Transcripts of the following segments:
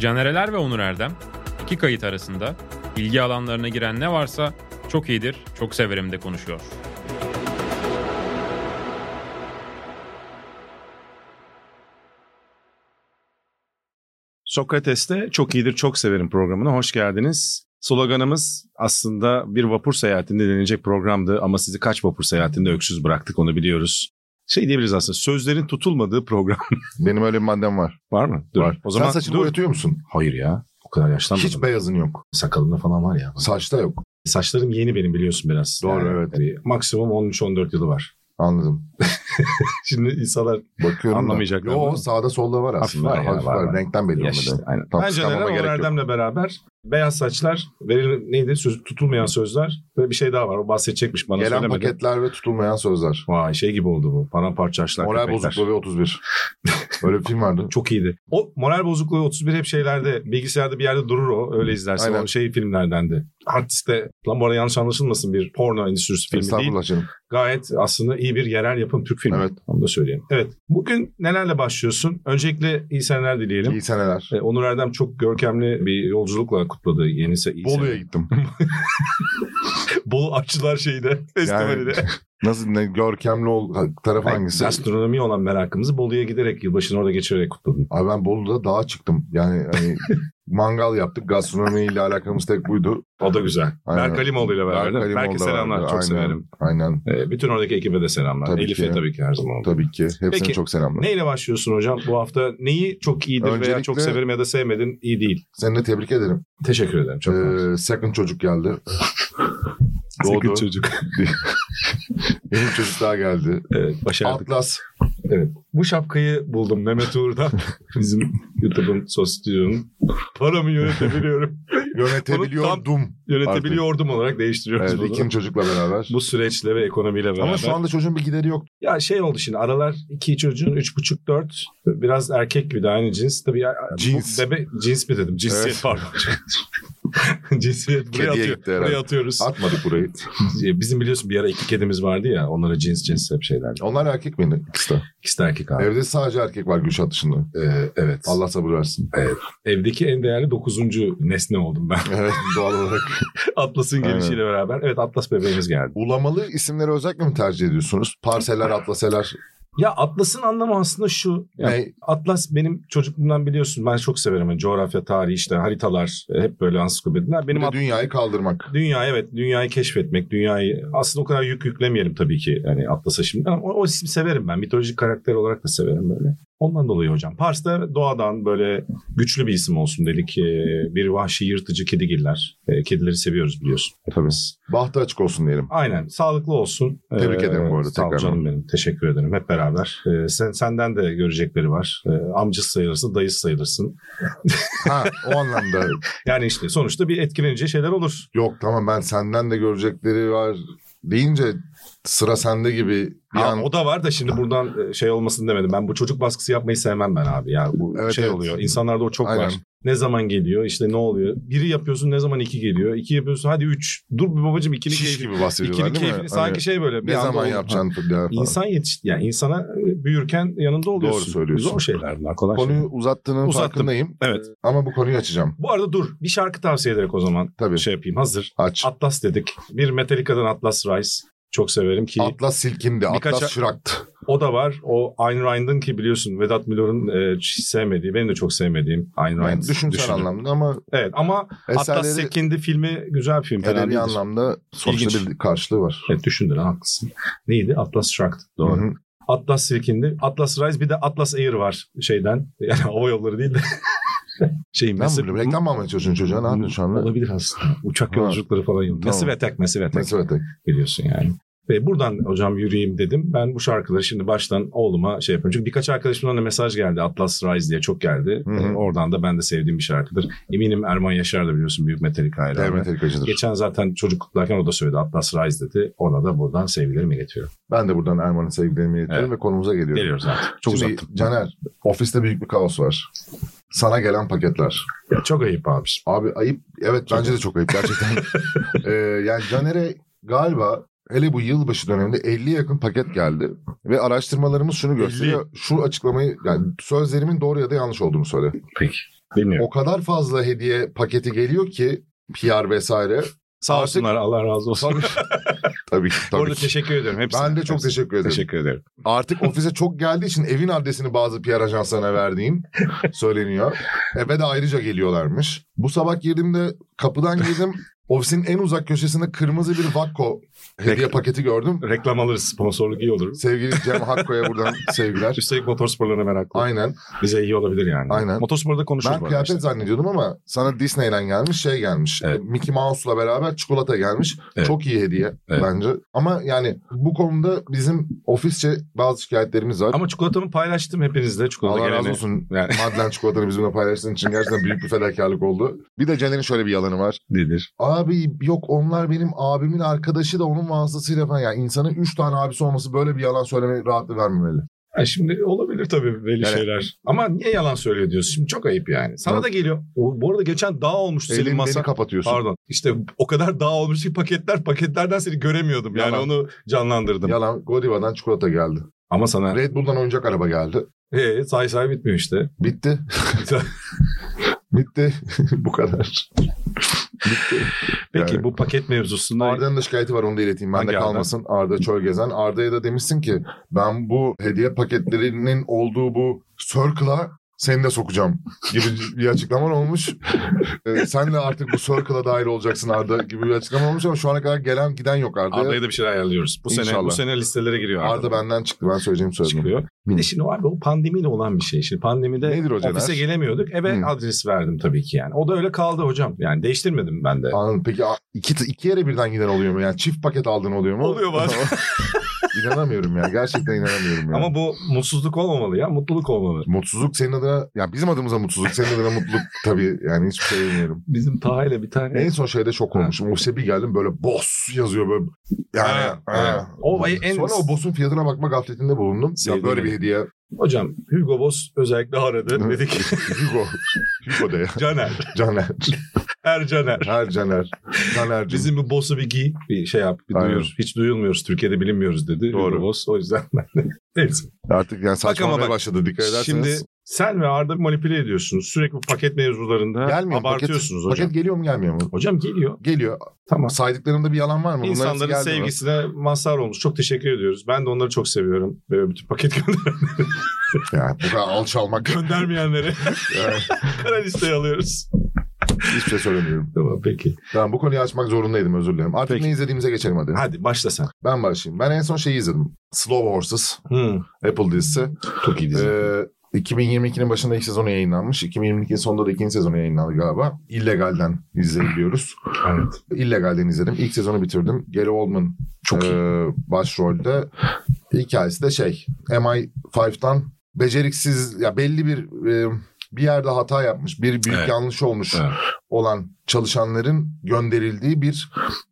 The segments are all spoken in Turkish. Canereler ve Onur Erdem iki kayıt arasında ilgi alanlarına giren ne varsa çok iyidir, çok severim de konuşuyor. Sokrates'te Çok iyidir Çok Severim programına hoş geldiniz. Sloganımız aslında bir vapur seyahatinde denilecek programdı ama sizi kaç vapur seyahatinde öksüz bıraktık onu biliyoruz. Şey diyebiliriz aslında sözlerin tutulmadığı program Benim öyle bir maddem var. var mı? Dur. Var. O zaman Sen saçını dur. boyatıyor musun? Hayır ya. O kadar yaşlanmadım. Hiç beyazın yok. sakalımda falan var ya. Saçta yok. Saçlarım yeni benim biliyorsun biraz. Doğru, Yani evet. hani maksimum 13-14 yılı var. Anladım. Şimdi insanlar Bakıyorum Anlamayacaklar da. Yo, ama. sağda solda var aslında. var ya, Hafif var, var. var. Renkten belli yaşlı. olmadı. Aynen. Tam Bence kıskanmama Caner'le gerek yok. Erdem'le beraber beyaz saçlar, verir, neydi söz, tutulmayan sözler ve bir şey daha var. O bahsedecekmiş bana Gelen söylemedi. paketler ve tutulmayan sözler. Vay şey gibi oldu bu. Paramparça açlar Moral köpekler. bozukluğu ve 31. Öyle bir film vardı. Çok iyiydi. O moral bozukluğu 31 hep şeylerde bilgisayarda bir yerde durur o. Öyle izlersin. Aynen. O şey filmlerdendi. Hard diskte lan bu arada yanlış anlaşılmasın bir porno endüstrisi filmi değil. Estağfurullah canım. Gayet aslında iyi bir yerel yapım Türk filmi. Evet. Onu da söyleyeyim. Evet. Bugün nelerle başlıyorsun? Öncelikle iyi seneler dileyelim. İyi seneler. E, Onur Erdem çok görkemli bir yolculukla kutladı yeni se- iyi sene. Bolu'ya gittim. Bolu Aşçılar şeyine, festivaline. Nasıl ne görkemli ol taraf hangisi? Gastronomiye olan merakımızı Bolu'ya giderek yılbaşını orada geçirerek kutladım. Abi ben Bolu'da dağa çıktım. Yani hani mangal yaptık. Gastronomiyle alakamız tek buydu. O da güzel. Aynen. Berk Halimoğlu ile beraber. Berk Halimoğlu Berk'e da selamlar. vardı. Çok Aynen, severim. Aynen. E, bütün oradaki ekibe de selamlar. Tabii Elif'e ki. tabii ki her zaman oldu. Tabii ki. Hepsine Peki, çok selamlar. Neyle başlıyorsun hocam? Bu hafta neyi çok iyidir veya Öncelikle- çok severim ya da sevmedin iyi değil. Seni de tebrik ederim. Teşekkür ederim. Çok ee, Ee, second çocuk geldi. Doğdu. Doğdu. çocuk. Benim çocuk daha geldi. Evet, başardık. Atlas. Bu şapkayı buldum Mehmet Uğur'dan. Bizim YouTube'un sosyalinin. Paramı yönetebiliyorum. Yönetebiliyordum. Yönetebiliyordum olarak değiştiriyoruz Evet, bunu. ikinci çocukla beraber. Bu süreçle ve ekonomiyle beraber. Ama şu anda çocuğun bir gideri yok. Ya şey oldu şimdi aralar iki çocuğun üç buçuk dört biraz erkek gibi de aynı cins. Tabii ya, Cins. bu Bebe, cins mi dedim? Cinsiyet Evet. pardon. Cinsiyet buraya, Kediye atıyor, gitti herhalde. buraya atıyoruz. Atmadık burayı. Bizim biliyorsun bir ara iki kedimiz vardı ya onlara cins cins hep şeyler. Onlar erkek miydi? İkisi de. İkisi de erkek abi. Evde sadece erkek var Gülşah dışında. Ee, evet. Allah sabır versin. Evdeki en değerli dokuzuncu nesne oldum ben. Evet doğal olarak. Atlas'ın Aynen. gelişiyle beraber. Evet Atlas bebeğimiz geldi. Ulamalı isimleri özellikle mi tercih ediyorsunuz? Parseler, atlaseler. Ya Atlas'ın anlamı aslında şu. Yani Ne? Atlas benim çocukluğumdan biliyorsun ben çok severim. Yani coğrafya, tarih işte haritalar e, hep böyle ansiklopediler. Benim Bir de at- dünyayı kaldırmak. Dünya evet dünyayı keşfetmek dünyayı aslında o kadar yük yüklemeyelim tabii ki yani Atlas'a şimdi ama o, o ismi severim ben mitolojik karakter olarak da severim böyle. Ondan dolayı hocam Pars'ta doğadan böyle güçlü bir isim olsun dedik Ee, bir vahşi yırtıcı kedigiller Ee, kedileri seviyoruz biliyorsun. Tabii. Biz. Bahtı açık olsun diyelim. Aynen sağlıklı olsun. Tebrik ederim bu arada Sağ ol tekrardan. canım benim teşekkür ederim hep beraber. Ee, sen, senden de görecekleri var Ee, amcası sayılırsın dayısı sayılırsın Ha o anlamda. yani işte sonuçta bir etkileneceği şeyler olur. Yok tamam ben senden de görecekleri var deyince sıra sende gibi bir Ha, an O da var da şimdi buradan e, şey olmasın demedim. Ben bu çocuk baskısı yapmayı sevmem ben abi. Ya bu Evet, şey evet. oluyor. İnsanlarda o çok Aynen. var. Ne zaman geliyor işte ne oluyor? Biri yapıyorsun ne zaman iki geliyor? İki yapıyorsun hadi üç. Dur bir babacım ikili şiş keyfi. gibi bahsediyorlar ikili değil mi? keyfini sanki Hani şey böyle. bir ne anda zaman oldu. yapacaksın falan. İnsan yetiş, yani insana e, büyürken yanında oluyorsun. söylüyorsun. Zor şeyler bunlar kolay Konuyu şeyler. uzattığının Uzattım. farkındayım Evet. ama bu konuyu açacağım. Bu arada dur bir şarkı tavsiye ederek o zaman Tabii şey yapayım hazır. aç. Atlas dedik. Bir Metallica'dan Atlas Rise. Çok severim ki Atlas silkindi, Birkaç- Atlas çıraktı. O da var. O Ayn Rand'ın ki biliyorsun Vedat Milor'un e, hiç sevmediği, benim de çok sevmediğim Ayn Rand. Yani düşünsel düşünürüm. anlamda ama Evet ama Atlas eserleri Sekindi filmi güzel bir film. fena edebi değildir. anlamda sonuçta İlginç. bir karşılığı var. Evet düşündün haklısın. Neydi? Atlas Shrugged. Doğru. Hı hı. Atlas Sekindi. Atlas Rise bir de Atlas Air var şeyden. Yani hava yolları değil de. şeyin Ben Massive- bunu reklam mı almaya çalışıyorsun çocuğa? Ne yapıyorsun şu anda? Olabilir aslında. Uçak Ha. yolculukları falan yok. Tamam. Massive Attack, Massive Attack. Nasıl ötek? biliyorsun yani. Ve buradan hocam yürüyeyim dedim. Ben bu şarkıları şimdi baştan oğluma şey yapıyorum. Çünkü birkaç arkadaşımdan da mesaj geldi. Atlas Rise diye çok geldi. Hı hı. Ee, Oradan da ben de sevdiğim bir şarkıdır. Eminim Erman Yaşar da biliyorsun büyük metalik hayranı. Devlet Erkacı'dır. Geçen zaten çocuk kutlarken o da söyledi Atlas Rise dedi. Ona da buradan sevgilerimi iletiyorum. Ben de buradan Erman'ın sevgilerimi iletiyorum ve konumuza geliyorum. Geliyoruz artık. Çok Şimdi uzattım. Caner, ofiste büyük bir kaos var. Sana gelen paketler. Ya çok ayıp abi. Abi ayıp. Evet bence de çok ayıp gerçekten. Ee, yani Caner'e galiba hele bu yılbaşı döneminde 50 yakın paket geldi. Ve araştırmalarımız şunu gösteriyor. Şu açıklamayı yani sözlerimin doğru ya da yanlış olduğunu söyle. Bilmiyorum. O kadar fazla hediye paketi geliyor ki PR vesaire. Sağ Artık- olsunlar Allah razı olsun. Tabii, tabii ki. Bu Tabii arada ki. teşekkür ediyorum. Hepsine. Ben de çok Hepsine. teşekkür ederim. Teşekkür ederim. Artık ofise çok geldiği için evin adresini bazı PR ajanslarına verdiğim söyleniyor. Eve de ayrıca geliyorlarmış. Bu sabah girdiğimde kapıdan girdim. Ofisin en uzak köşesinde kırmızı bir Vakko hediye Reklam. paketi gördüm. Reklam alırız. Sponsorluk iyi olur. Sevgili Cem Hakko'ya buradan sevgiler. Üstelik motorsporlarına meraklı. Aynen. Bize iyi olabilir yani. Aynen. Motorsporda konuşuruz. Ben bu arada kıyafet işte. zannediyordum ama sana Disney'den gelmiş şey gelmiş. Evet. Mickey Mouse'la beraber çikolata gelmiş. Evet. Çok iyi hediye Evet. bence. Ama yani bu konuda bizim ofisçe bazı şikayetlerimiz var. Ama çikolatamı paylaştım hepinizle. Çikolata Allah razı gelene. olsun. Yani- Madlen çikolatanı bizimle paylaştığın için gerçekten büyük bir fedakarlık oldu. Bir de Ceren'in şöyle bir yalanı var. Nedir? Abi yok onlar benim abimin arkadaşı da onun vasıtasıyla falan. Yani insanın 3 tane abisi olması böyle bir yalan söylemeye rahatlık vermemeli. Ya şimdi olabilir tabii belli Yani- şeyler. Ama niye yalan söylüyor diyorsun? Şimdi çok ayıp yani. Sana Evet. da geliyor. O- bu arada geçen dağ olmuştu Elini senin masa. beni kapatıyorsun. Pardon. İşte o kadar dağ olmuş ki paketler paketlerden seni göremiyordum. Yani Yalan. onu canlandırdım. Yalan Godiva'dan çikolata geldi. Ama sana Red Bull'dan oyuncak araba geldi. Ee, say say bitmiyor işte. Bitti. Bitti. bu kadar. Bitti. Peki Yani- bu paket mevzusunda Arda'nın da şikayeti var onu da ileteyim. Ben de Hangi Arda? kalmasın. Arda Çölgezen. Arda'ya da demişsin ki ben bu hediye paketlerinin olduğu bu circle'a seni de sokacağım gibi bir açıklaman olmuş. Ee, sen de artık bu circle'a dahil olacaksın Arda gibi bir açıklama olmuş ama şu ana kadar gelen giden yok Arda'ya. Arda'ya da bir şeyler ayarlıyoruz. Bu sene bu İnşallah. sene listelere giriyor Arda. Şey Arda benden çıktı. Ben söyleyeceğim söyledim. çıkıyor. Bir de şimdi o abi o pandemiyle olan bir şey. Şimdi pandemide Nedir o Cener? ofise gelemiyorduk. Eve Hı. adres verdim tabii ki yani. O da öyle kaldı hocam. Yani değiştirmedim ben de. Anladım. Peki a- iki, iki yere birden giden oluyor mu? Yani çift paket aldığın oluyor mu? Oluyor bazen. inanamıyorum ya. Gerçekten inanamıyorum ya. Ama bu mutsuzluk olmamalı ya. Mutluluk olmalı. Mutsuzluk senin adına... Ya bizim adımıza mutsuzluk. Senin adına mutluluk tabii. Yani hiçbir şey bilmiyorum. Bizim Taha ile bir tane En son şeyde şok Ha. olmuşum. Musebi geldim böyle boss yazıyor böyle. Yani. Ha, ha. ha. O en- Sonra o boss'un fiyatına bakma gafletinde bulundum. Sevdiğim ya böyle bir herif. hediye. hocam Hugo Boss özellikle aradı. Hı. Dedi ki Hugo. Hugo de ya. Caner. Caner. Er Caner. Her Caner. Caner'cim. Bizim bu boss'u bir giy, bir şey yap, bir Aynen. duyur. Hiç duyulmuyoruz, Türkiye'de bilinmiyoruz dedi. Doğru. Doğru. Boss. O yüzden ben de. Neyse. Artık yani saçmalamaya ama bak, başladı dikkat ederseniz. Şimdi sen ve Arda manipüle ediyorsunuz. Sürekli bu paket mevzularında Gelmiyor mu? abartıyorsunuz paket, hocam. Paket geliyor mu gelmiyor mu? Hocam geliyor. Geliyor. Tamam. Saydıklarımda bir yalan var mı? Bunların hepsi İnsanların geldi mi? sevgisine mazhar olmuş. Çok teşekkür ediyoruz. Ben de onları çok seviyorum. Böyle bütün paket gönder Yani bu kadar alçalmak. göndermeyenlere Yani kara listeye alıyoruz. hiçbir şey söylemiyorum. Tamam peki. Tamam bu konuyu açmak zorundaydım özür dilerim. Artık Peki. ne izlediğimize geçelim hadi. Hadi başla sen. Ben başlayayım. Ben en son şeyi izledim. Slow Horses. Hı. Apple dizisi. Çok iyi dizi. Ee, 2022'nin başında ilk sezonu yayınlanmış. 2022'nin sonunda da ikinci sezonu yayınlandı galiba. İllegal'den izleyebiliyoruz. evet. İllegal'den izledim. İlk sezonu bitirdim. Gary Oldman Çok e, iyi. başrolde. Hikayesi de şey MI5'tan beceriksiz ya belli bir e, bir yerde hata yapmış, bir büyük Evet. yanlış olmuş Evet. olan çalışanların gönderildiği bir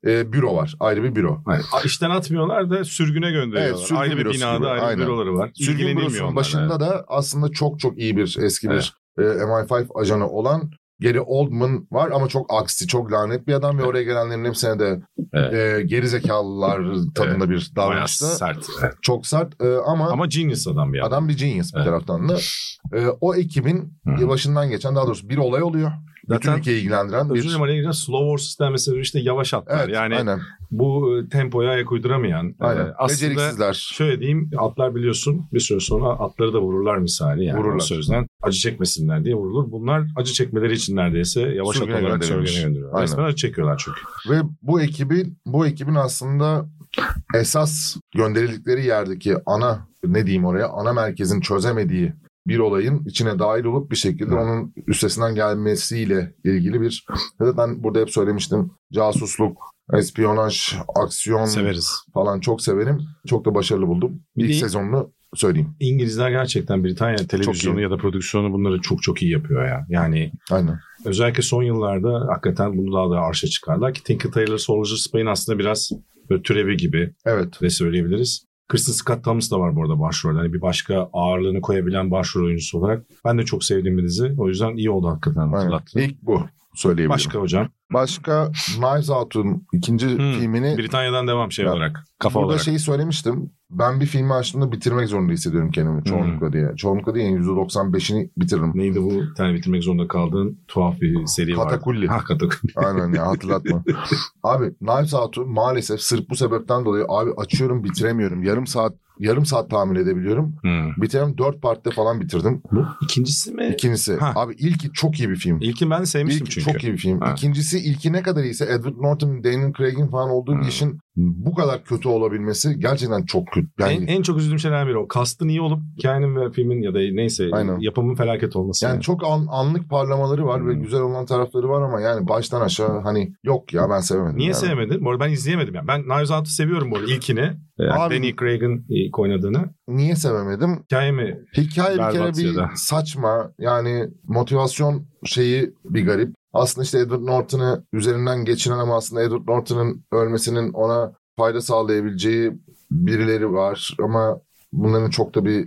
e, büro var. Ayrı bir büro. A- İşten atmıyorlar da sürgüne gönderiyorlar. Evet, sürgün ayrı bir bürosu binada gibi. ayrı bir Aynen. büroları var. Sürgün İlgilenilmiyor bürosunun onlarla. başında da aslında çok çok iyi bir eski bir e, MI5 ajanı olan Gary Oldman var ama çok aksi, çok lanet bir adam ve oraya gelenlerin hepsine de Evet. e, geri zekalılar tadında bir Bayağı davranışta. sert. Evet. Çok sert e, ama, Ama genius adam ya. adam bir genius bir Evet. taraftan da. E, o ekibin Hı. başından geçen daha doğrusu bir olay oluyor. Bütün Zaten ülkeyi ilgilendiren özür bir... dilerim araya gireceğim. Slow horses denmesi işte yavaş atlar. Evet yani aynen. bu e, tempoya ayak uyduramayan. e, aynen. aslında Beceriksizler. şöyle diyeyim atlar biliyorsun bir süre sonra atları da vururlar misali. Yani Vururlar. O sözden acı çekmesinler diye vurulur. Bunlar acı çekmeleri için neredeyse yavaş Sürgüne at olarak gönderilmiş. sürgüne gönderiyorlar. Aynen. Resmen acı çekiyorlar çünkü. Ve bu ekibin bu ekibin aslında esas gönderildikleri yerdeki ana ne diyeyim oraya ana merkezin çözemediği bir olayın içine dahil olup bir şekilde Evet. onun üstesinden gelmesiyle ilgili bir zaten burada hep söylemiştim casusluk, espiyonaj, aksiyon Severiz. falan çok severim. Çok da başarılı buldum. Bir İlk de- sezonunu söyleyeyim. İngilizler gerçekten Britanya televizyonu iyi. ya da prodüksiyonu bunları çok çok iyi yapıyor ya. Yani Aynen. Özellikle son yıllarda hakikaten bunu daha da arşa çıkarlar ki Tinker Tailor Soldier Spy'in aslında biraz böyle türevi gibi Evet. de söyleyebiliriz. Kristen Scott Thomas da var bu arada başrolde. Hani bir başka ağırlığını koyabilen başrol oyuncusu olarak. Ben de çok sevdiğim bir dizi. O yüzden iyi oldu hakikaten Aynen. hatırlattın. İlk bu söyleyebilirim. Başka hocam. Başka Knives Out'un ikinci Hmm, filmini Britanya'dan devam şey E, Ya, olarak. şey- Kafa Burada olarak. şeyi söylemiştim. Ben bir filmi açtığımda bitirmek zorunda hissediyorum kendimi çoğunlukla diye. Çoğunlukla değil yani %95'ini bitiririm. Neydi bu? Bir tane bitirmek zorunda kaldığın tuhaf bir seri var. Katakulli. Ha Katakulli. Aynen ya hatırlatma. abi Knives Out'u maalesef sırf bu sebepten dolayı abi açıyorum bitiremiyorum. Yarım saat yarım saat tahmin edebiliyorum. Bitirem dört partte falan bitirdim. Bu ikincisi mi? İkincisi. Ha. Abi ilki çok iyi bir film. İlkin ben sevmiştim İlki çünkü. çok iyi bir film. Ha. İkincisi ilki ne kadar iyiyse Edward Norton, Daniel Craig'in falan olduğu Hmm. bir işin bu kadar kötü olabilmesi gerçekten çok kötü. Yani, En, en çok üzüldüğüm şeyler biri o. Kastın iyi olup hikayenin ve filmin ya da neyse Aynen. yapımın felaket olması. yani çok an- anlık parlamaları var ve Hmm. güzel olan tarafları var ama yani baştan aşağı hani yok ya ben sevemedim. Niye yani. sevmedin? Bu arada ben izleyemedim. Yani. Ben Knives Out'u seviyorum bu arada ilkini. Ee, Abi- Danny Craig'in ilk oynadığını. Niye sevemedim? Hikaye mi? Hikaye bir kere Berbat ya bir da. saçma yani motivasyon şeyi bir garip. Aslında işte Edward Norton'ı üzerinden geçinen ama aslında Edward Norton'ın ölmesinin ona fayda sağlayabileceği birileri var ama bunların çok da bir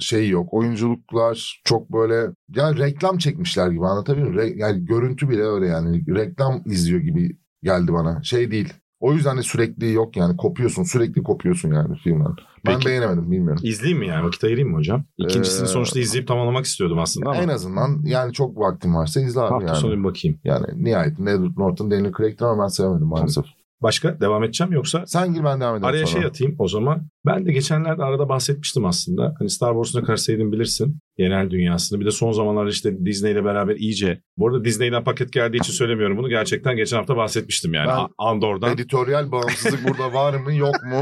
şeyi şey yok. Oyunculuklar çok böyle yani reklam çekmişler gibi anlatabiliyor muyum? Re- yani görüntü bile öyle yani reklam izliyor gibi geldi bana. Şey değil. O yüzden de sürekli yok yani kopuyorsun sürekli kopuyorsun yani filmden. Ben Peki. beğenemedim bilmiyorum. İzleyeyim mi yani? Vakit ayırayım mı hocam? İkincisini Ee, sonuçta izleyip tamamlamak istiyordum aslında ama. En azından yani çok vaktim varsa izle abi Hafta yani. sonu bir bakayım. Yani nihayetinde Edward Norton, Daniel Craig'ti ama ben sevemedim maalesef. Başka? Devam edeceğim yoksa Sen gir ben devam edeyim Araya sonra. şey atayım o zaman. Ben de geçenlerde arada bahsetmiştim aslında. Hani Star Wars'u ne kadar sevdiğimi bilirsin. Genel dünyasını. Bir de son zamanlarda işte Disney ile beraber iyice. Bu arada Disney'den paket geldiği için söylemiyorum bunu. Gerçekten geçen hafta bahsetmiştim yani. Ben- A- Andor'dan. Editoryal bağımsızlık burada var mı yok mu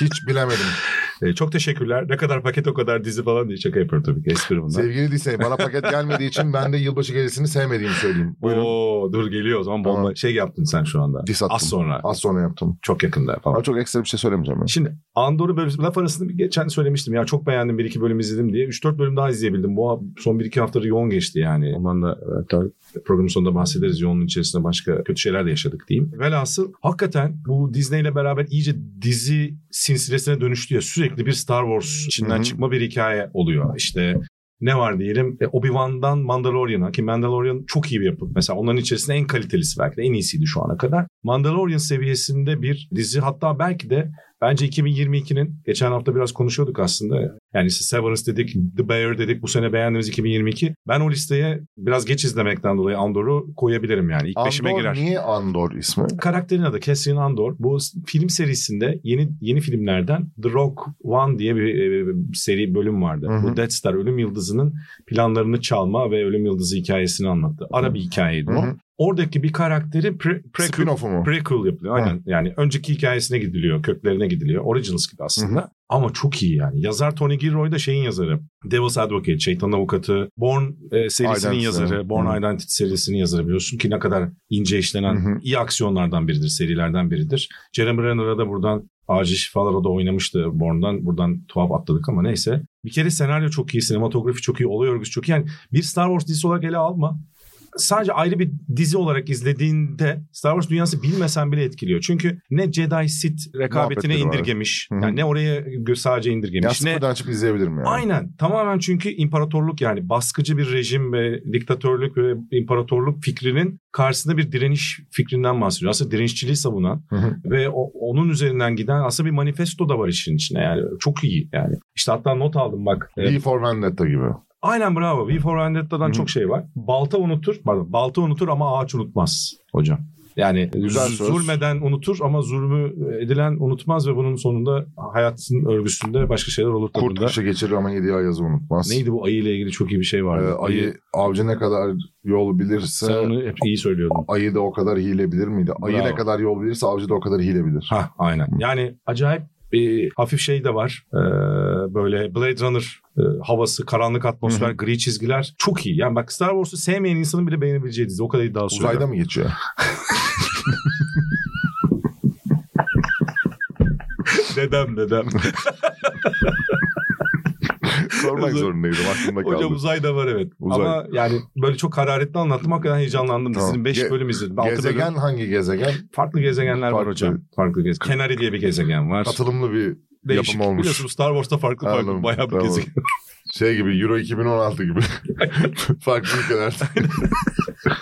hiç bilemedim. E, çok teşekkürler. Ne kadar paket o kadar dizi falan diye şaka yapıyorum tabii ki. Espri bunlar. Sevgili Disney bana paket gelmediği için ben de yılbaşı gecesini sevmediğimi söyleyeyim. Buyurun. Oo, dur geliyor o zaman bomba. Tamam. Şey yaptın sen şu anda. Dis attım. Az sonra. Az sonra yaptım. Çok yakında falan. Ama çok ekstra bir şey söylemeyeceğim. ben. Şimdi Andor'u böyle laf arasında bir geçen söylemiştim ya çok beğendim bir iki bölüm izledim diye. 3-4 bölüm daha izleyebildim. Bu ha- son bir iki haftada yoğun geçti yani. Ondan da e, hatta programın sonunda bahsederiz yoğunluğun içerisinde başka kötü şeyler de yaşadık diyeyim. Velhasıl hakikaten bu Disney ile beraber iyice dizi silsilesine dönüştü ya sürekli bir Star Wars içinden Hı hı. çıkma bir hikaye oluyor. İşte ne var diyelim E, Obi-Wan'dan Mandalorian'a ki Mandalorian çok iyi bir yapım. Mesela onların içerisinde en kalitelisi belki de en iyisiydi şu ana kadar. Mandalorian seviyesinde bir dizi hatta belki de Bence 2022'nin geçen hafta biraz konuşuyorduk aslında. Yani işte Severance dedik, The Bear dedik. Bu sene beğendiğimiz 2022. Ben o listeye biraz geç izlemekten dolayı Andor'u koyabilirim yani. İlk beşime Andor girer. niye Andor ismi? Karakterin adı Cassian Andor. Bu film serisinde yeni yeni filmlerden The Rock One diye bir e, seri bölüm vardı. Hı hı. Bu Death Star Ölüm Yıldızı'nın planlarını çalma ve Ölüm Yıldızı hikayesini anlattı. Ara bir hikayeydi Hı o. hı. Oradaki bir karakteri pre, prequel Spin-off'u mu? Prequel yapılıyor aynen. Yani önceki hikayesine gidiliyor, köklerine gidiliyor. Originals gibi aslında. Ama çok iyi yani. Yazar Tony Gilroy da şeyin yazarı. Devil's Advocate, Şeytan Avukatı, Born e, serisinin Identity. yazarı, Born Hı. Identity serisinin yazarı biliyorsun ki ne kadar ince işlenen Hı hı. iyi aksiyonlardan biridir, serilerden biridir. Jeremy Renner'a da buradan acil şifalar o da oynamıştı Born'dan. Buradan tuhaf atladık ama neyse. Bir kere senaryo çok iyi, sinematografi çok iyi, olay örgüsü çok iyi. Yani bir Star Wars dizisi olarak ele alma sadece ayrı bir dizi olarak izlediğinde Star Wars dünyası bilmesen bile etkiliyor. Çünkü ne Jedi Sith rekabetine Muhabbetleri var. indirgemiş. Hı hı. Yani ne oraya gö- sadece Ya indirgemiş. ne sıfırdan açıp izleyebilirim yani. Aynen. Tamamen çünkü imparatorluk yani baskıcı bir rejim ve diktatörlük ve imparatorluk fikrinin karşısında bir direniş fikrinden bahsediyor. Aslında direnişçiliği savunan Hı hı. ve o- onun üzerinden giden aslında bir manifesto da var işin içinde yani. Çok iyi yani. İşte hatta not aldım bak. Ee, V for Vendetta gibi. Aynen bravo. V for Vendetta'dan Hı. çok şey var. Balta unutur. Pardon. Balta unutur ama ağaç unutmaz hocam. Yani Güzel z- söz. zulmeden unutur ama zulmü edilen unutmaz ve bunun sonunda hayatın örgüsünde başka şeyler olur tabii Kurt da. kışı geçirir ama yedi ayazı unutmaz. Neydi bu ayı ile ilgili çok iyi bir şey Ee, vardı. ayı avcı ne kadar yol bilirse... sen onu hep iyi söylüyordun. Ayı da o kadar hile bilir miydi? Ayı Bravo. ne kadar yol bilirse avcı da o kadar hile bilir. Ha aynen. Yani acayip bir hafif şey de var. Ee, böyle Blade Runner e, havası, karanlık atmosfer, Hı gri çizgiler çok iyi. Yani bak Star Wars'u sevmeyen insanın bile beğenebileceği dizi. O kadar iddia söylüyorum. Uzayda mı geçiyor? Dedem dedem. Sormak Uzay- zorundaydım aklımda kaldı. Hocam uzayda var evet. Uzay. Ama yani böyle çok hararetli anlattım. Hakikaten heyecanlandım. Tamam. Dizinin 5 Ge- bölüm izledim. altı gezegen bölüm. hangi gezegen? Farklı gezegenler var Farklı. hocam. Farklı gezegen. Kenari diye bir gezegen var. Katılımlı bir Değişik. yapım olmuş. Biliyorsunuz Star Wars'ta farklı farklı Anladım. bayağı bir Tamam. gezegen. Şey gibi Euro 2016 gibi. Farklı ülkeler.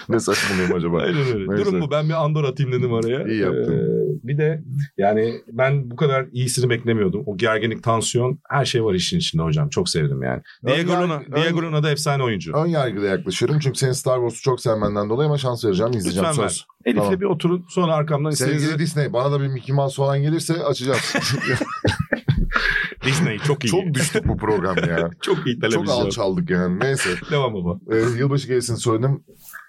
ne saçmalıyım acaba? Aynen öyle. Neyse. Durum bu. Ben bir andor atayım dedim araya. İyi yaptın. Ee, bir de yani ben bu kadar iyisini beklemiyordum. O gerginlik, tansiyon her şey var işin içinde hocam. Çok sevdim yani. Ön Diego yargı- Luna, ön- Diego Luna da efsane oyuncu. Ön yargıda yaklaşıyorum çünkü senin Star Wars'u çok sevmenden dolayı ama şans vereceğim izleyeceğim Lütfen söz. Elif'le tamam. bir oturun sonra arkamdan Sevgili istediğiniz Disney bana da bir Mickey Mouse falan gelirse açacağız. Disney çok iyi. çok düştük bu program ya. çok iyi televizyon. çok alçaldık yani neyse. Devam baba. Ee, yılbaşı gelsin söyledim.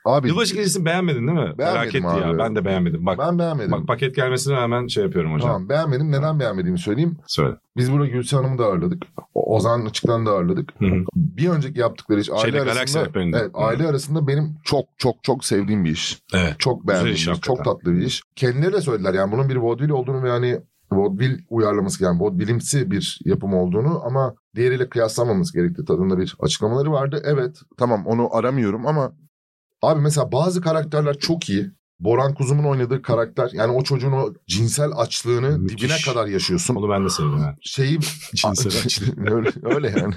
Abi Yılbaşı gecesini beğenmedin değil mi? Merak Beğenmedim etti ya. abi. Ben de beğenmedim. Bak, ben beğenmedim. bak paket gelmesine rağmen şey yapıyorum hocam. Tamam beğenmedim. Neden beğenmediğimi söyleyeyim. Söyle. Biz burada Gülse Hanım'ı da ağırladık. O- Ozan Açık'tan da ağırladık. Hı hı. Bir önceki yaptıkları iş aile Şeyde, Galaksi arasında Rehberi'nde. evet, aile arasında benim çok çok çok sevdiğim bir iş. Evet. Çok Güzel beğendiğim iş bir iş, Çok hakikaten. tatlı bir iş. Kendileri de söylediler yani bunun bir vaudeville olduğunu ve hani vaudeville uyarlaması yani vaudevillimsi bir yapım olduğunu ama diğeriyle kıyaslamamız gerektiği tadında bir açıklamaları vardı. Evet tamam onu aramıyorum ama abi mesela bazı karakterler çok iyi. Boran Kuzum'un oynadığı karakter yani o çocuğun o cinsel açlığını Müthiş. dibine kadar yaşıyorsun. Onu ben de sevdim. ha. Şeyi öyle, öyle yani.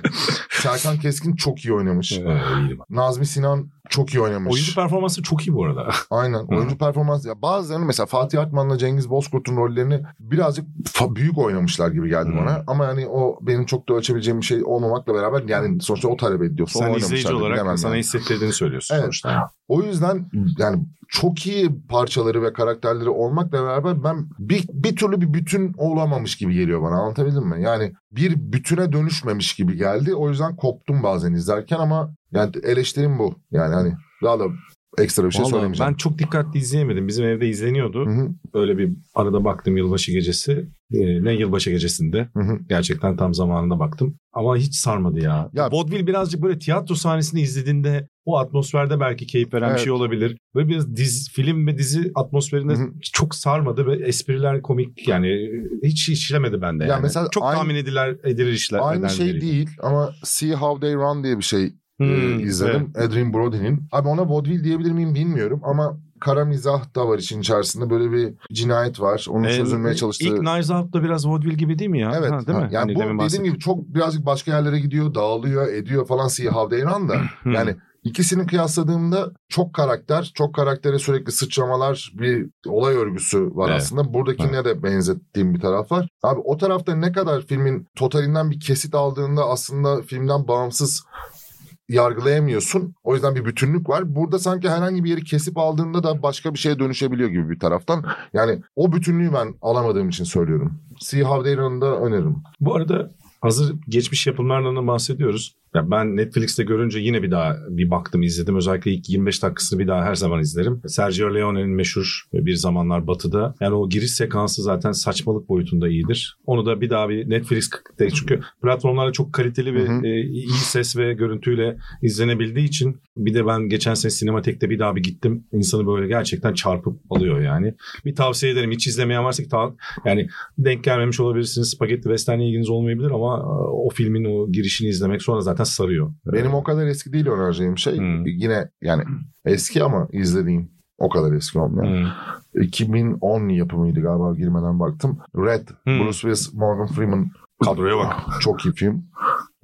Serkan Keskin çok iyi oynamış. Evet, iyiydi bak. Nazmi Sinan çok iyi oynamış. Oyuncu performansı çok iyi bu arada. Aynen. Oyuncu performans ya bazılarını mesela Fatih Artman'la Cengiz Bozkurt'un rollerini birazcık fa- büyük oynamışlar gibi geldi Hı. bana. Ama yani o benim çok da ölçebileceğim bir şey olmamakla beraber yani sonuçta o talep ediliyorsa Sen o izleyici oynamışlar. olarak bilemem sana yani. hissettirdiğini söylüyorsun Evet. sonuçta. O yüzden yani çok iyi parçaları ve karakterleri olmakla beraber ben bir, bir türlü bir bütün olamamış gibi geliyor bana anlatabildim mi? Yani bir bütüne dönüşmemiş gibi geldi. O yüzden koptum bazen izlerken ama yani eleştirim bu. Yani hani daha da ekstra bir şey Vallahi söylemeyeceğim. ben çok dikkatli izleyemedim. Bizim evde izleniyordu. Hı hı. Öyle bir arada baktım yılbaşı gecesi. Ee, ne yılbaşı gecesinde. Hı hı. Gerçekten tam zamanında baktım. Ama hiç sarmadı ya. ya Ya- Vaudeville birazcık böyle tiyatro sahnesini izlediğinde o atmosferde belki keyif veren bir Evet. şey olabilir. Böyle biraz diz, film ve dizi atmosferinde Hı hı. çok sarmadı ve espriler komik yani hiç işlemedi bende Ya yani. mesela çok aynı- tahmin edilir, edilir işler. Aynı şey nedenleri. değil ama See How They Run diye bir şey e, Hmm, izledim. Adrien Brody'nin. Abi ona vaudeville diyebilir miyim bilmiyorum ama kara mizah da var işin içerisinde. Böyle bir cinayet var. Onun Ee, çözülmeye çalıştığı. İlk Knives Out da biraz vaudeville gibi değil mi ya? Evet. Ha, değil mi? Ha, Yani Hani demin bu dediğim bahsettim. gibi çok birazcık başka yerlere gidiyor, dağılıyor, ediyor falan See How They Run da. Hı. yani ikisini kıyasladığımda çok karakter, çok karaktere sürekli sıçramalar, bir olay örgüsü var Evet. aslında. Buradakine de benzettiğim bir taraf var. Abi o tarafta ne kadar filmin totalinden bir kesit aldığında aslında filmden bağımsız yargılayamıyorsun. O yüzden bir bütünlük var. Burada sanki herhangi bir yeri kesip aldığında da başka bir şeye dönüşebiliyor gibi bir taraftan. Yani o bütünlüğü ben alamadığım için söylüyorum. See How They Run'ı da öneririm. Bu arada hazır geçmiş yapımlardan bahsediyoruz. Ya ben Netflix'te görünce yine bir daha bir baktım izledim. Özellikle ilk 25 dakikasını bir daha her zaman izlerim. Sergio Leone'nin meşhur Bir Zamanlar Batı'da. Yani o giriş sekansı zaten saçmalık boyutunda iyidir. Onu da bir daha bir Netflix'te çünkü platformlarda çok kaliteli Hı ve hı. e, iyi ses ve görüntüyle izlenebildiği için bir de ben geçen sene sinematekte bir daha bir gittim. İnsanı böyle gerçekten çarpıp alıyor yani. Bir tavsiye ederim. Hiç izlemeyen varsa ki ta- yani denk gelmemiş olabilirsiniz. Spagetti Western'e ilginiz olmayabilir ama e, o filmin o girişini izlemek sonra zaten sarıyor. Benim o kadar eski değil önereceğim şey. Hmm. Yine yani eski ama izlediğim o kadar eski olmayan. Hmm. 2010 yapımıydı galiba girmeden baktım. Red, Hmm. Bruce Willis, Morgan Freeman. Kadroya bak. Çok iyi film.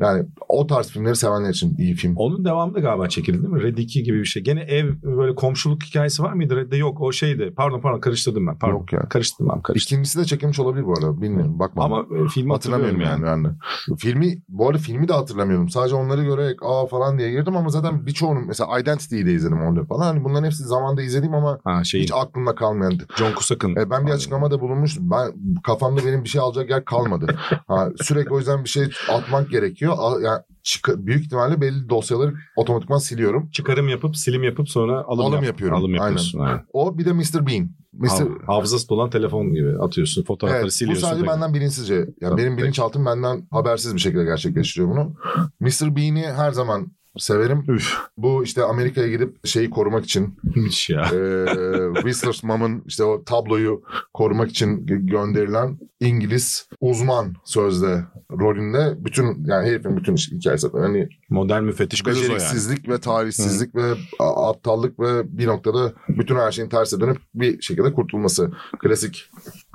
Yani o tarz filmleri sevenler için iyi film. Onun devamında galiba çekildi değil mi? Red 2 gibi bir şey. Gene ev böyle komşuluk hikayesi var mıydı? Red'de yok. O şeydi. Pardon pardon karıştırdım ben. Pardon. Yok ya. Karıştırdım ben karıştırdım. İkincisi de çekilmiş olabilir bu arada. Bilmiyorum. Bakma. Ama e, filmi hatırlamıyorum hatırlamıyorum yani. yani. yani. Filmi, bu arada filmi de hatırlamıyorum. Sadece onları görerek aa falan diye girdim ama zaten birçoğunu mesela Identity'yi de izledim onu falan. Hani bunların hepsi zamanda izlediğim ama Ha şey hiç aklımda kalmayan John Cusack'ın. E, ben bir Abi. açıklamada bulunmuştum. Ben kafamda benim bir şey alacak yer kalmadı. Ha, sürekli o yüzden bir şey atmak gerekiyor. A- yani çık- büyük ihtimalle belli dosyaları otomatikman siliyorum. Çıkarım yapıp silim yapıp sonra alım, Alım yap- yapıyorum. Alım yapıyorsun. Aynen. O bir de Mr. Bean. Mr. Hav- hafızası dolan telefon gibi atıyorsun. Fotoğrafları Evet, bu siliyorsun. sadece tekrar. benden bilinçsizce. Yani Tabii, benim peki. bilinçaltım benden habersiz bir şekilde gerçekleştiriyor bunu. Mr. Bean'i her zaman severim. Üf. Bu işte Amerika'ya gidip şeyi korumak için Müthiş ya. e, Whistler's Mom'un işte o tabloyu korumak için gö- gönderilen İngiliz uzman sözde rolünde bütün yani herifin bütün iş- hikayesi zaten. Hani Modern müfettiş Gazozo yani. Beceriksizlik ve tarihsizlik ve a- aptallık ve bir noktada bütün her şeyin terse dönüp bir şekilde kurtulması. Klasik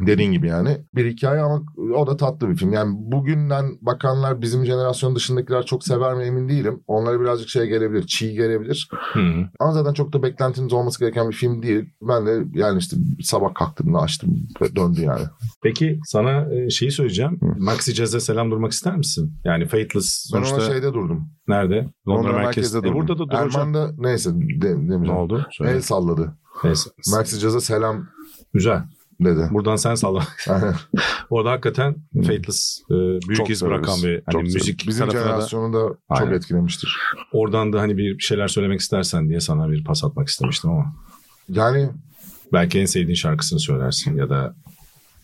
dediğin gibi yani. Bir hikaye ama o da tatlı bir film. Yani bugünden bakanlar bizim jenerasyon dışındakiler çok sever mi emin değilim. Onlara birazcık şey gelebilir, çiğ gelebilir. Hı. Ama zaten çok da beklentiniz olması gereken bir film değil. Ben de yani işte sabah kalktığımda açtım ve döndü yani. Peki sana e, şeyi söyleyeceğim. Maxi Jazz'e selam durmak ister misin? Yani Faithless Ben ona sonuçta şeyde durdum. nerede? Londra, merkezde. merkezde durdum. E, burada da duracağım. Erman da neyse de, Ne demeyeceğim. oldu? Söyle. El salladı. Neyse. Maxi Caz'a selam Güzel. dedi. Buradan sen salla. Orada hakikaten Faithless e, büyük Çok iz severiz. bırakan bir hani Çok müzik severiz. Bizim tarafına da jenerasyonu da Aynen. çok etkilemiştir. oradan da hani bir şeyler söylemek istersen diye sana bir pas atmak istemiştim ama Yani belki en sevdiğin şarkısını söylersin ya da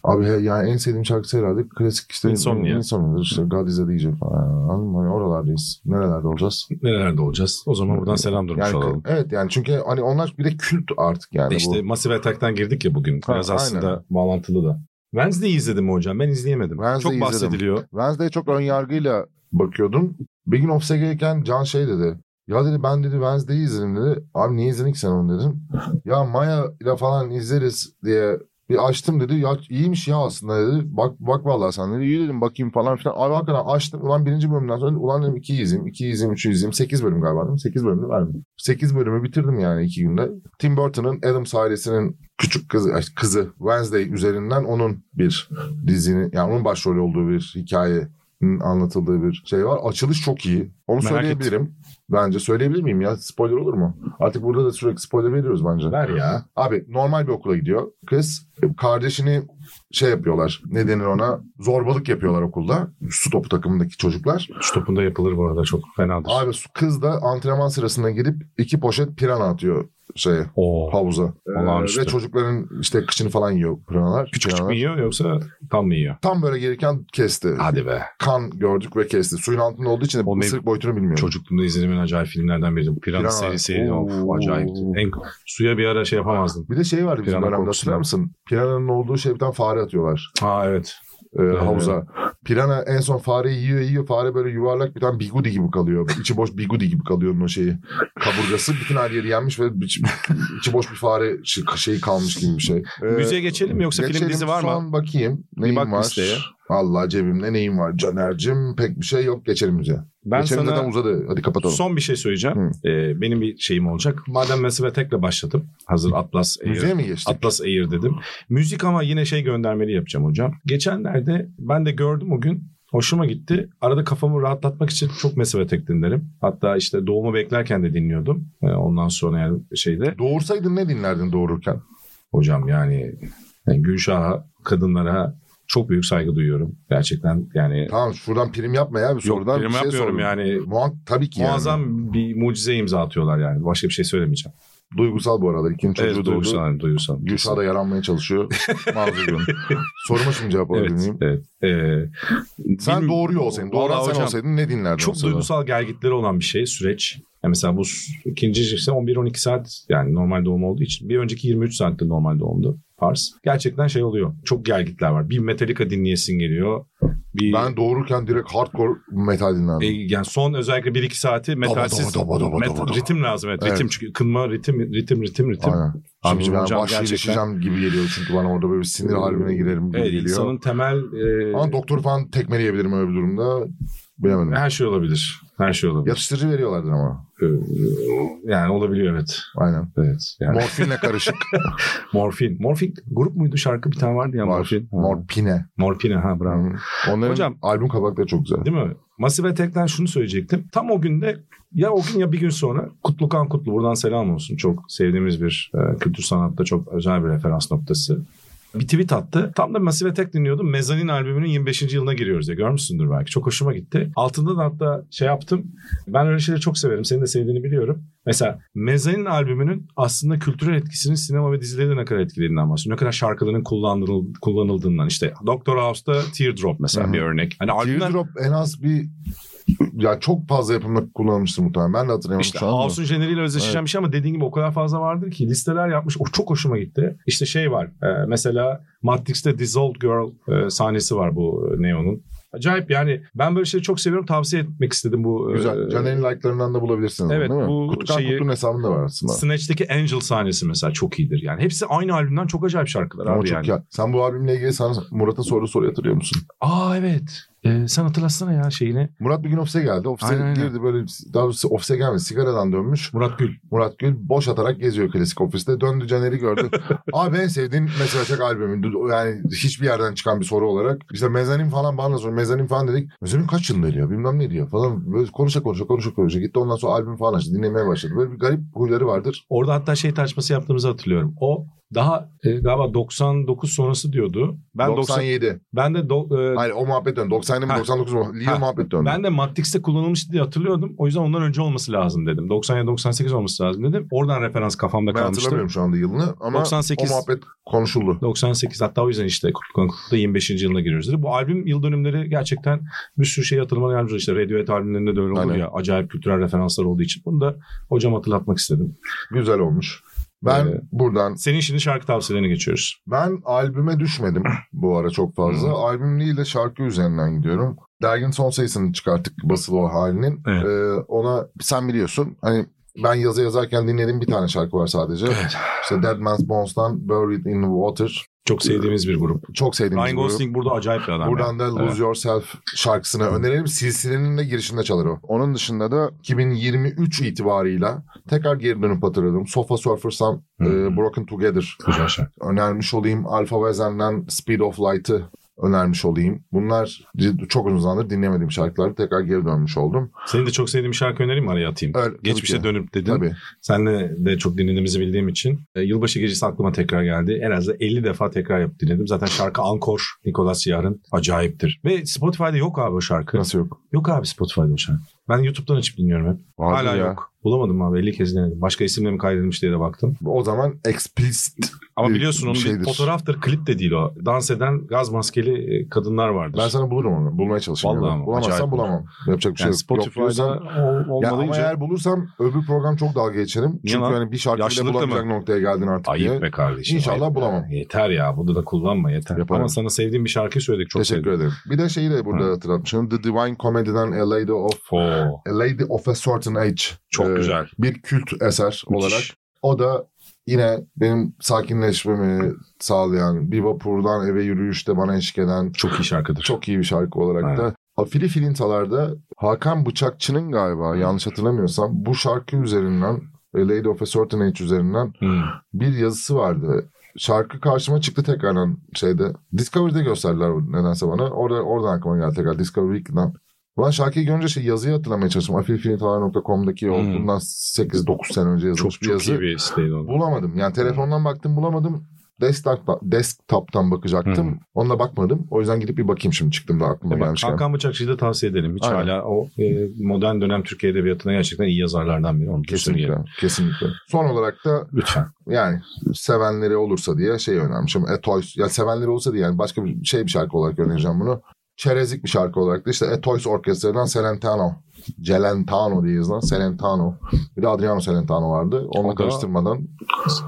abi he- yani en sevdiğim şarkısı herhalde klasik işte Insomnia. Insomnia'dır işte God is a DJ falan. Anladın mı? Hani oralardayız. Nerelerde olacağız? nerelerde olacağız? O zaman buradan selam durmuş Yani olalım. evet yani çünkü hani onlar bir de kült artık yani işte Massive Attack'tan girdik ya bugün. Ha, Biraz aynen. aslında bağlantılı da. Wednesday'i izledim mi hocam? Ben izleyemedim. Wednesday'i Çok izledim. bahsediliyor. bu. Wednesday'e çok ön yargıyla bakıyordum. Bir gün ofise gelirken Can şey dedi. Ya dedi ben dedi Wednesday'i izledim dedi. Abi niye izledin ki sen onu dedim. Ya Maya ile falan izleriz diye bir açtım dedi. Ya iyiymiş ya aslında dedi. Bak bak vallahi sen dedi. İyi dedim bakayım falan filan. Abi hakikaten açtım. Ulan birinci bölümden sonra ulan dedim ikiyi izleyeyim. ikiyi izleyeyim, üçü izleyeyim. Sekiz bölüm galiba değil mi? Sekiz bölümü verdim. Sekiz bölümü bitirdim yani iki günde. Tim Burton'ın Adams ailesinin küçük kızı, ay, kızı Wednesday üzerinden onun bir dizinin yani onun başrolü olduğu bir hikaye anlatıldığı bir şey var. Açılış çok iyi. Onu Merak söyleyebilirim. Bence söyleyebilir miyim ya? Spoiler olur mu? Artık burada da sürekli spoiler veriyoruz bence. Ver ya. Abi normal bir okula gidiyor. Kız kardeşini şey yapıyorlar. Ne denir ona? Zorbalık yapıyorlar okulda. Su topu takımındaki çocuklar. Şu topunda yapılır bu arada çok fenadır. Abi su- kız da antrenman sırasında gidip iki poşet pirana atıyor şeye Oo. havuza. Ee, Olağanüstü. ve çocukların işte kışını falan yiyor piranalar. Küçük küçük piranalar. mü yiyor yoksa tam mı yiyor? Tam böyle gelirken kesti. Hadi be. Kan gördük ve kesti. Suyun altında olduğu için de O ne- ısırık boyutunu bilmiyorum. Çocukluğumda izlediğim en acayip filmlerden biri. Piran Piranha. serisi. Of Oo. acayipti. En, suya bir ara şey yapamazdım. Bir de şey vardı bizim Pirana dönemde korkusu. hatırlar mısın? Pirana'nın olduğu şey bir tane fare atıyorlar. Ha evet. e, havuza. Pirana en son fareyi yiyor yiyor. Fare böyle yuvarlak bir tane bigudi gibi kalıyor. İçi boş bigudi gibi kalıyor onun o şeyi. Kaburgası bütün her yeri yenmiş ve içi, içi boş bir fare şey- şeyi kalmış gibi bir şey. Ee, Müziğe geçelim mi yoksa film geçelim. dizi var mı? Son bakayım. Bir Neyim bak var? listeye. Allah cebimde neyim var? Caner'cim pek bir şey yok. Geçelim müziğe. Ben geçelim sana zaten uzadı. Hadi kapatalım. son bir şey söyleyeceğim. Ee, benim bir şeyim olacak. Madem Massive Attack'le başladım. Hazır Atlas Air Müziğe mi geçtik? Atlas Air dedim. Müzik ama yine şey göndermeli yapacağım hocam. Geçenlerde ben de gördüm o gün. Hoşuma gitti. Arada kafamı rahatlatmak için çok Massive Attack dinlerim. Hatta işte doğumu beklerken de dinliyordum. Ee, ondan sonra yani şeyde. Doğursaydın ne dinlerdin doğururken? Hocam yani, yani Gülşah'a, kadınlara çok büyük saygı duyuyorum. Gerçekten yani Tamam şuradan prim yapma ya. Bir sorudan prim bir şey yapmıyorum sorun. yani. Muha- tabii ki muazzam yani. bir mucize imza atıyorlar yani. Başka bir şey söylemeyeceğim. Duygusal bu arada. İkinci çocuğu evet, doğurdu. duygusal, duygusal. Gülşah da yaranmaya çalışıyor. Mağdur Soruma şimdi cevap alabilir Evet, miyim? evet. Ee, Sen bilmiyorum. doğuruyor olsaydın, Vallahi doğuran sen hocam, olsaydın ne dinlerdin? o Çok sırada? duygusal gelgitleri olan bir şey süreç. Yani mesela bu s- ikinci işte 11-12 saat yani normal doğum olduğu için. Bir önceki 23 saatte normal doğumdu Pars. Gerçekten şey oluyor. Çok gelgitler var. Bir Metallica dinleyesin geliyor. Bir, Ben doğururken direkt hardcore metal E, dinlerdim. yani son özellikle 1-2 saati metalsiz daba, daba, met- daba, daba. ritim lazım evet. Evet. Ritim çünkü kınma ritim ritim ritim ritim. Aynen. Şimdi Şimdi ben hocam vahşileşeceğim gibi geliyor çünkü bana orada böyle bir sinir haline girerim gibi Evet geliyor. insanın temel e, Ama doktor falan tekmeleyebilirim öyle bir durumda. Bilemedim. her şey olabilir. Her şey olabilir. Yatıştırıcı veriyorlardı ama. E, Yani olabiliyor evet. Aynen. Evet. Yani Morfinle karışık. morfin. Morfin grup muydu şarkı bir tane vardı ya Var. morfin. Ha. Morpine. Morfine ha bravo. Hı. Onların Hocam- albüm kabakları çok güzel. Değil mi? Massive Attack'ten şunu söyleyecektim. Tam o günde ya o gün ya bir gün sonra Kutlukan Kutlu buradan selam olsun. Çok sevdiğimiz bir e, kültür sanatta çok özel bir referans noktası. Bir tweet attı. Tam da Massive Attack dinliyordum. Mezanin albümünün 25. yılına giriyoruz ya. Görmüşsündür belki. Çok hoşuma gitti. Altında da hatta şey yaptım. Ben öyle şeyleri çok severim. Senin de sevdiğini biliyorum. Mesela Mezanin albümünün aslında kültürel etkisinin sinema ve dizileri de ne kadar etkilediğinden bahsediyor. Ne kadar şarkıların kullanıl- kullanıldığından. işte Doctor House'da Teardrop mesela Hı hı. bir örnek. Hani albümden Teardrop en az bir ya çok fazla yapımda kullanılmıştır muhtemelen. Ben de hatırlayamadım İşte şu an. ama. House'un jeneriğiyle özdeşleşen bir şey ama dediğin gibi o kadar fazla vardır ki listeler yapmış. O çok hoşuma gitti. İşte şey var. e, mesela Matrix'te Dissolved Girl e, sahnesi var bu e, Neo'nun. Acayip yani ben böyle şeyleri çok seviyorum. Tavsiye etmek istedim bu. Güzel. e, Caner'in like'larından da bulabilirsiniz. Evet, değil mi? bu Kutkan şeyi- Kutlu'nun hesabında var aslında. Snatch'teki Angel sahnesi mesela çok iyidir. Yani hepsi aynı albümden çok acayip şarkılar Ama abi çok yani. ya. Sen bu albümle ilgili sana Murat'a soru soru yatırıyor musun? Aa evet. Ee, sen hatırlatsana ya şeyini. Murat bir gün ofise geldi. Ofise Aynen, aynen. girdi böyle daha doğrusu ofise gelmedi. Sigaradan dönmüş. Murat Gül. Murat Gül boş atarak geziyor klasik ofiste. Döndü Caner'i gördü. Abi en sevdiğin mesela Çak albümü. Du- Yani hiçbir yerden çıkan bir soru olarak. İşte mezanin falan bana sonra mezanin falan dedik. Mezanin kaç yılında diyor bilmem ne diyor falan. Böyle konuşa konuşa konuşa konuşa gitti. Ondan sonra albüm falan açtı. Dinlemeye başladı. Böyle bir garip huyları vardır. Orada hatta şey tartışması yaptığımızı hatırlıyorum. O daha e, galiba 99 sonrası diyordu. Ben 90 97. ben de do- e, Hayır o muhabbet döndü. 97 mi Ha. 99 mu? Lille Ha. muhabbet döndü. ben de Matrix'te kullanılmıştı diye hatırlıyordum. O yüzden ondan önce olması lazım dedim. 97 98 olması lazım dedim. Oradan referans kafamda Ben kalmıştı. hatırlamıyorum şu anda yılını ama 98. o muhabbet konuşuldu. 98 hatta o yüzden işte Kutlu Kutlu'da 25. yılına giriyoruz dedi. Bu albüm yıl dönümleri gerçekten bir sürü şey hatırlamana yardımcı oluyor. işte Radiohead albümlerinde de öyle olur Aynen. ya acayip kültürel referanslar olduğu için. Bunu da hocam hatırlatmak istedim. Güzel olmuş. Ben Ee, buradan Senin şimdi şarkı tavsiyelerine geçiyoruz. ben albüme düşmedim bu ara çok fazla. Hı. Albüm değil de şarkı üzerinden gidiyorum. Dergin son sayısını çıkarttık basılı o halinin. Evet. Ee, ona sen biliyorsun hani ben yazı yazarken dinlediğim bir tane şarkı var sadece. İşte Dead Man's Bones'tan Buried in the Water. Çok sevdiğimiz bir grup. Çok sevdiğim Ryan bir Ee, grup. Gosling burada acayip bir adam. Buradan da Lose Evet. Yourself şarkısını önerelim. Silsilenin de girişinde çalar o. Onun dışında da 2023 itibarıyla tekrar geri dönüp hatırladım. Sofa Surfers'tan Hı. e, Broken Together ya. Güzel şarkı. önermiş olayım. Alpha Wezen'den Speed of Light'ı önermiş olayım. Bunlar cid- çok uzun zamandır dinlemediğim şarkılar. Tekrar geri dönmüş oldum. Senin de çok sevdiğim bir şarkı önereyim mi araya atayım? Öyle, tabii Geçmişe ki. dönüp dedin. Tabii. Senle de çok dinlediğimizi bildiğim için e, yılbaşı gecesi aklıma tekrar geldi. En az da 50 defa tekrar yapıp dinledim. Zaten şarkı Ankor Nicolas Yar'ın acayiptir. Ve Spotify'da yok abi o şarkı. Nasıl yok? Yok abi Spotify'da o şarkı. Ben YouTube'dan açıp dinliyorum hep. Vardı Hala ya. yok. Bulamadım abi 50 kez denedim. Başka isimle mi kaydedilmiş diye de baktım. O zaman explicit. Ama Bir biliyorsun onun bir şeydir. fotoğraftır, klip de değil o. Dans eden gaz maskeli e, kadınlar vardır. Ben sana bulurum onu. Bulmaya çalışayım. Vallahi ya. ama acayip. Bulamazsam bulamam. Yapacak bir şey yani yok. Spotify'da yok. diyorsan- ol- Ya olmadığı ama için- eğer bulursam öbür program çok dalga geçerim. Niye Çünkü lan? hani bir şarkı bile Yaşlılık da bulamayacak noktaya geldin artık diye. Ayıp be kardeşim. İnşallah ayıp be. bulamam. Yeter ya bunu da kullanma yeter. Yaparım. Ama sana sevdiğim bir şarkıyı söyledik çok Teşekkür sevdim. ederim. Bir de şeyi de burada Ha. hatırlatmışım. The Divine Comedy'den A Lady of Oo, A Lady of a Certain Age. çok Ee, güzel. Bir kült eser olarak. O da yine benim sakinleşmemi sağlayan, bir vapurdan eve yürüyüşte bana eşlik eden Çok iyi şarkıdır. çok iyi bir şarkı olarak da. Afili Filintalar'da Hakan Bıçakçı'nın galiba yanlış hatırlamıyorsam bu şarkı üzerinden A Lady of a Certain Age üzerinden Hmm. bir yazısı vardı. Şarkı karşıma çıktı tekrardan şeyde. Discovery'de gösterdiler bu nedense bana. Orada, oradan aklıma geldi tekrar. Discovery Weekly'den. Ben şarkıyı görünce şey, yazıyı hatırlamaya çalıştım. Afilfilintalar.com'daki o Hmm. bundan 8-9 sene önce yazılmış Çok bir çok yazı. iyi bir siteydi o. Bulamadım. Yani telefondan baktım bulamadım. Desktop'tan, desktop'tan bakacaktım. Onunla bakmadım. O yüzden gidip bir bakayım şimdi çıktım da aklıma Hmm. E bak, gelmişken. Hakan Bıçakçı'yı da tavsiye edelim. Hiç Aynen. hala o e, modern dönem Türkiye Edebiyatı'na gerçekten iyi yazarlardan biri. Onu Kesinlikle. Kesinlikle. Kesinlikle. Son olarak da Lütfen. yani sevenleri olursa diye şey önermişim. A Toys. Ya sevenleri olsa diye yani başka bir şey bir şarkı olarak önereceğim bunu. Çerezlik bir şarkı olarak da işte e, A Toys Orkestra'dan Celentano. Celentano diye yazılan Celentano. Bir de Adriano Celentano vardı. O Onunla da- karıştırmadan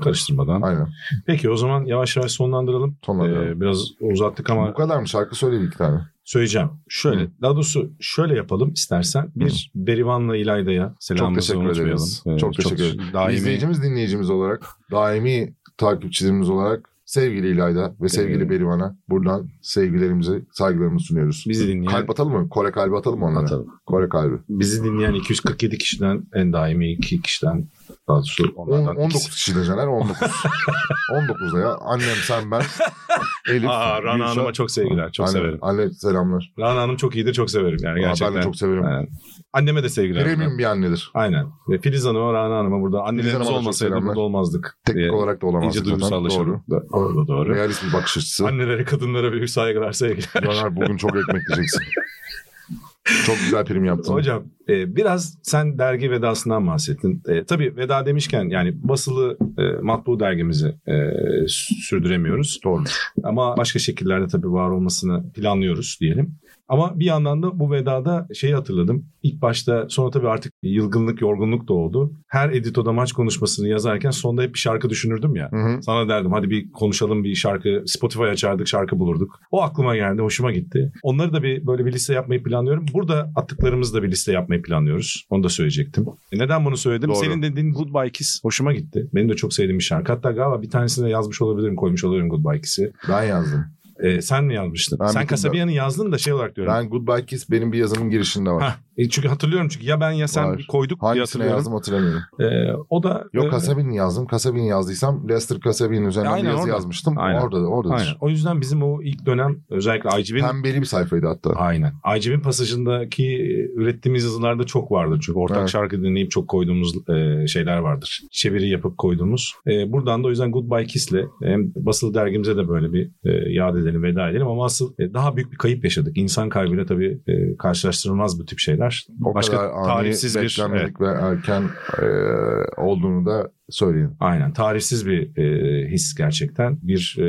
Karıştırmadan. aynen. Peki o zaman yavaş yavaş sonlandıralım. Sonra E, biraz uzattık bu ama kadar mı? Şarkı söyle bir iki tane. söyleyeceğim. Şöyle. Hı. Daha doğrusu şöyle yapalım istersen. Bir Berivan'la İlayda'ya selamımızı teşekkür ederiz. unutmayalım. E, Çok teşekkür ederiz. daimi- İzleyicimiz dinleyicimiz olarak daimi takipçilerimiz olarak sevgili İlayda ve sevgili Evet. Berivan'a buradan sevgilerimizi, saygılarımızı sunuyoruz. Bizi dinleyen- Kalp atalım mı? Kore kalbi atalım mı onlara? Atalım. Kore kalbi. Bizi dinleyen 247 kişiden en daimi 2 kişiden daha doğrusu On- onlardan 19 ikisi. kişi de Caner 19. 19 da ya. Annem sen ben. Elif. Aa, Rana Gülşah. Hanım'a çok sevgiler. Çok Anne- severim. Anne selamlar. Rana Hanım çok iyidir. Çok severim yani Aa, gerçekten. ben de çok severim. Aynen. Anneme de sevgiler. Premium bir annedir. Aynen. Ve Filiz Hanım'a, Rana Hanım'a burada annelerimiz Hanım'a da çok olmasaydı selamlar. burada olmazdık. Teknik diye olarak da olamaz. İyice zaten. Doğru. duygusallaşalım. Doğru. Doğru. doğru. Realist bir bakış açısı. Annelere, kadınlara büyük saygılar, sevgiler. Caner bugün çok ekmek yiyeceksin. çok güzel prim yaptın. Hocam e, biraz sen dergi vedasından bahsettin. E, tabii veda demişken yani basılı e, matbu dergimizi e, sürdüremiyoruz. Doğru. Ama başka şekillerde tabii var olmasını planlıyoruz diyelim. Ama bir yandan da bu vedada şeyi hatırladım. İlk başta sonra tabii artık yılgınlık, yorgunluk da oldu. Her editoda maç konuşmasını yazarken sonda hep bir şarkı düşünürdüm ya. Hı hı. Sana derdim hadi bir konuşalım bir şarkı. Spotify açardık şarkı bulurduk. O aklıma geldi hoşuma gitti. Onları da bir böyle bir liste yapmayı planlıyorum. Burada attıklarımızı da bir liste yapmayı planlıyoruz. Onu da söyleyecektim. E neden bunu söyledim? Doğru. Senin dediğin Goodbye Kiss hoşuma gitti. Benim de çok sevdiğim bir şarkı. Hatta galiba bir tanesini de yazmış olabilirim koymuş olabilirim Goodbye Kiss'i. Ben yazdım. E, sen mi yazmıştın? Ben sen bilmiyorum. Kasabiyan'ı yazdın da şey olarak diyorum. Ben Goodbye Kiss benim bir yazımın girişinde var. Hah, e, çünkü hatırlıyorum çünkü ya ben ya sen Var. koyduk diye Hangisine hatırlıyorum. yazdım hatırlamıyorum. E, o da Yok e, Kasabi'ni yazdım. Kasabi'ni yazdıysam Lester Kasabi'nin üzerinden Aynen, bir yazı orada. yazmıştım. Aynen. Orada da orada. Aynen. O yüzden bizim o ilk dönem özellikle IGB'nin Pembeli bir sayfaydı hatta. Aynen. Acib'in pasajındaki e, ürettiğimiz yazılarda çok vardır. Çünkü ortak Evet. şarkı dinleyip çok koyduğumuz e, şeyler vardır. Çeviri yapıp koyduğumuz. E, buradan da o yüzden Goodbye Kiss'le hem basılı dergimize de böyle bir e, yad edelim, veda edelim. Ama asıl e, daha büyük bir kayıp yaşadık. İnsan kaybıyla tabii e, karşılaştırılmaz bu tip şeyler. O Başka kadar ani tarifsiz bir... evet. beklenmedik ve erken e, olduğunu da söyleyin. Aynen tarifsiz bir e, his gerçekten. Bir e,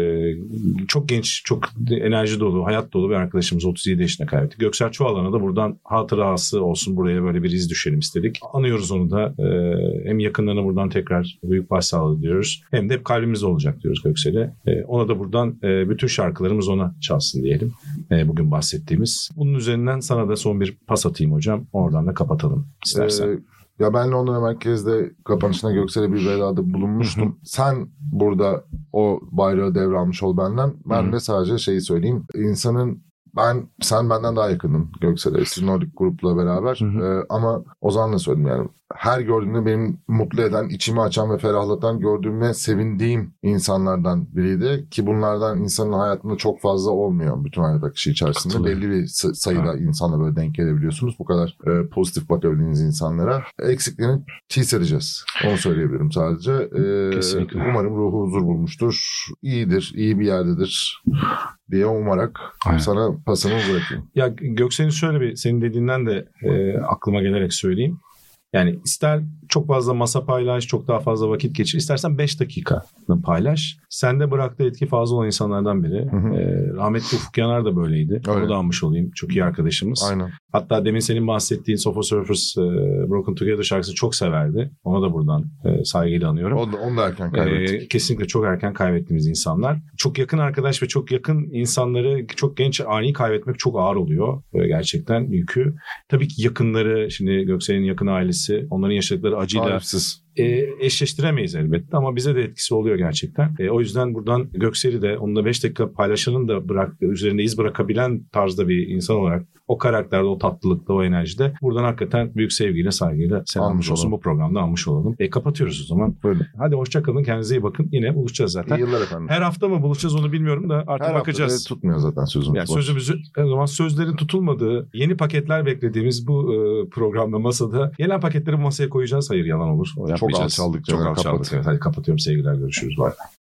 çok genç, çok enerji dolu, hayat dolu bir arkadaşımız 37 yaşında kaybettik. Göksel Çoğalan'a da buradan hatırası olsun buraya böyle bir iz düşelim istedik. Anıyoruz onu da. E, hem yakınlarına buradan tekrar büyük başsağlığı diliyoruz. Hem de hep kalbimizde olacak diyoruz Göksel'e. E, ona da buradan e, bütün şarkılarımız ona çalsın diyelim. E, bugün bahsettiğimiz. Bunun üzerinden sana da son bir pas atayım hocam. Oradan da kapatalım istersen. Ee, ya ben Londra merkezde kapanışına Göksel'e bir vedada bulunmuştum. Sen burada o bayrağı devralmış ol benden. Hı hı. Ben de sadece şeyi söyleyeyim. İnsanın ben sen benden daha yakınım Göksel'e. Sizin Nordic grupla beraber. Hı hı. Ee, ama Ozan'la söyledim yani. Her gördüğümde benim mutlu eden, içimi açan ve ferahlatan gördüğüme sevindiğim insanlardan biriydi. Ki bunlardan insanın hayatında çok fazla olmuyor bütün hayat akışı içerisinde. Katılıyorum. Belli belli bir sa- sayıda insanla böyle denk gelebiliyorsunuz. Bu kadar e, pozitif bakabildiğiniz insanlara. Eksiklerini çiğsereceğiz. Onu söyleyebilirim sadece. E, Kesinlikle. Umarım ruhu huzur bulmuştur. İyidir, iyi bir yerdedir diye umarak Aynen. sana pasını bırakayım. Ya Göksel'in şöyle bir senin dediğinden de e, aklıma gelerek söyleyeyim. Yani ister çok fazla masa paylaş, çok daha fazla vakit geçir. İstersen 5 dakikanı paylaş. Sende bıraktığı etki fazla olan insanlardan biri. Hı hı. E, rahmetli Ufuk Yanar da böyleydi. Öyle. Onu da almış olayım. Çok iyi arkadaşımız. Aynen. Hatta demin senin bahsettiğin Sofa Surfers e, Broken Together şarkısını çok severdi. Ona da buradan e, saygıyla anıyorum. Onu da, onu da erken kaybettik. Ee, kesinlikle çok erken kaybettiğimiz insanlar. Çok yakın arkadaş ve çok yakın insanları çok genç ani kaybetmek çok ağır oluyor Ee, gerçekten yükü. Tabii ki yakınları şimdi Göksel'in yakın ailesi onların yaşadıkları acıyla Tarifsiz. e, eşleştiremeyiz elbette ama bize de etkisi oluyor gerçekten. E, o yüzden buradan Göksel'i de onunla 5 dakika paylaşanın da bırak, üzerinde iz bırakabilen tarzda bir insan olarak o karakterde, o tatlılıkta, o enerjide buradan hakikaten büyük sevgiyle, saygıyla selamlamış Almış olsun. olalım. Bu programda almış olalım. E, kapatıyoruz o zaman. Buyurun. Hadi hoşça kalın. Kendinize iyi bakın. Yine buluşacağız zaten. İyi yıllar efendim. Her hafta mı buluşacağız onu bilmiyorum da artık Her hafta da bakacağız. tutmuyor zaten sözümüz. Yani Boş. sözümüzü o zaman sözlerin tutulmadığı yeni paketler beklediğimiz bu e, programda masada gelen paketleri masaya koyacağız. Hayır yalan olur. O yapmayacağız. alçaldık Çok canım, alçaldık. kapat. Evet, hadi kapatıyorum sevgiler görüşürüz. Bay bay.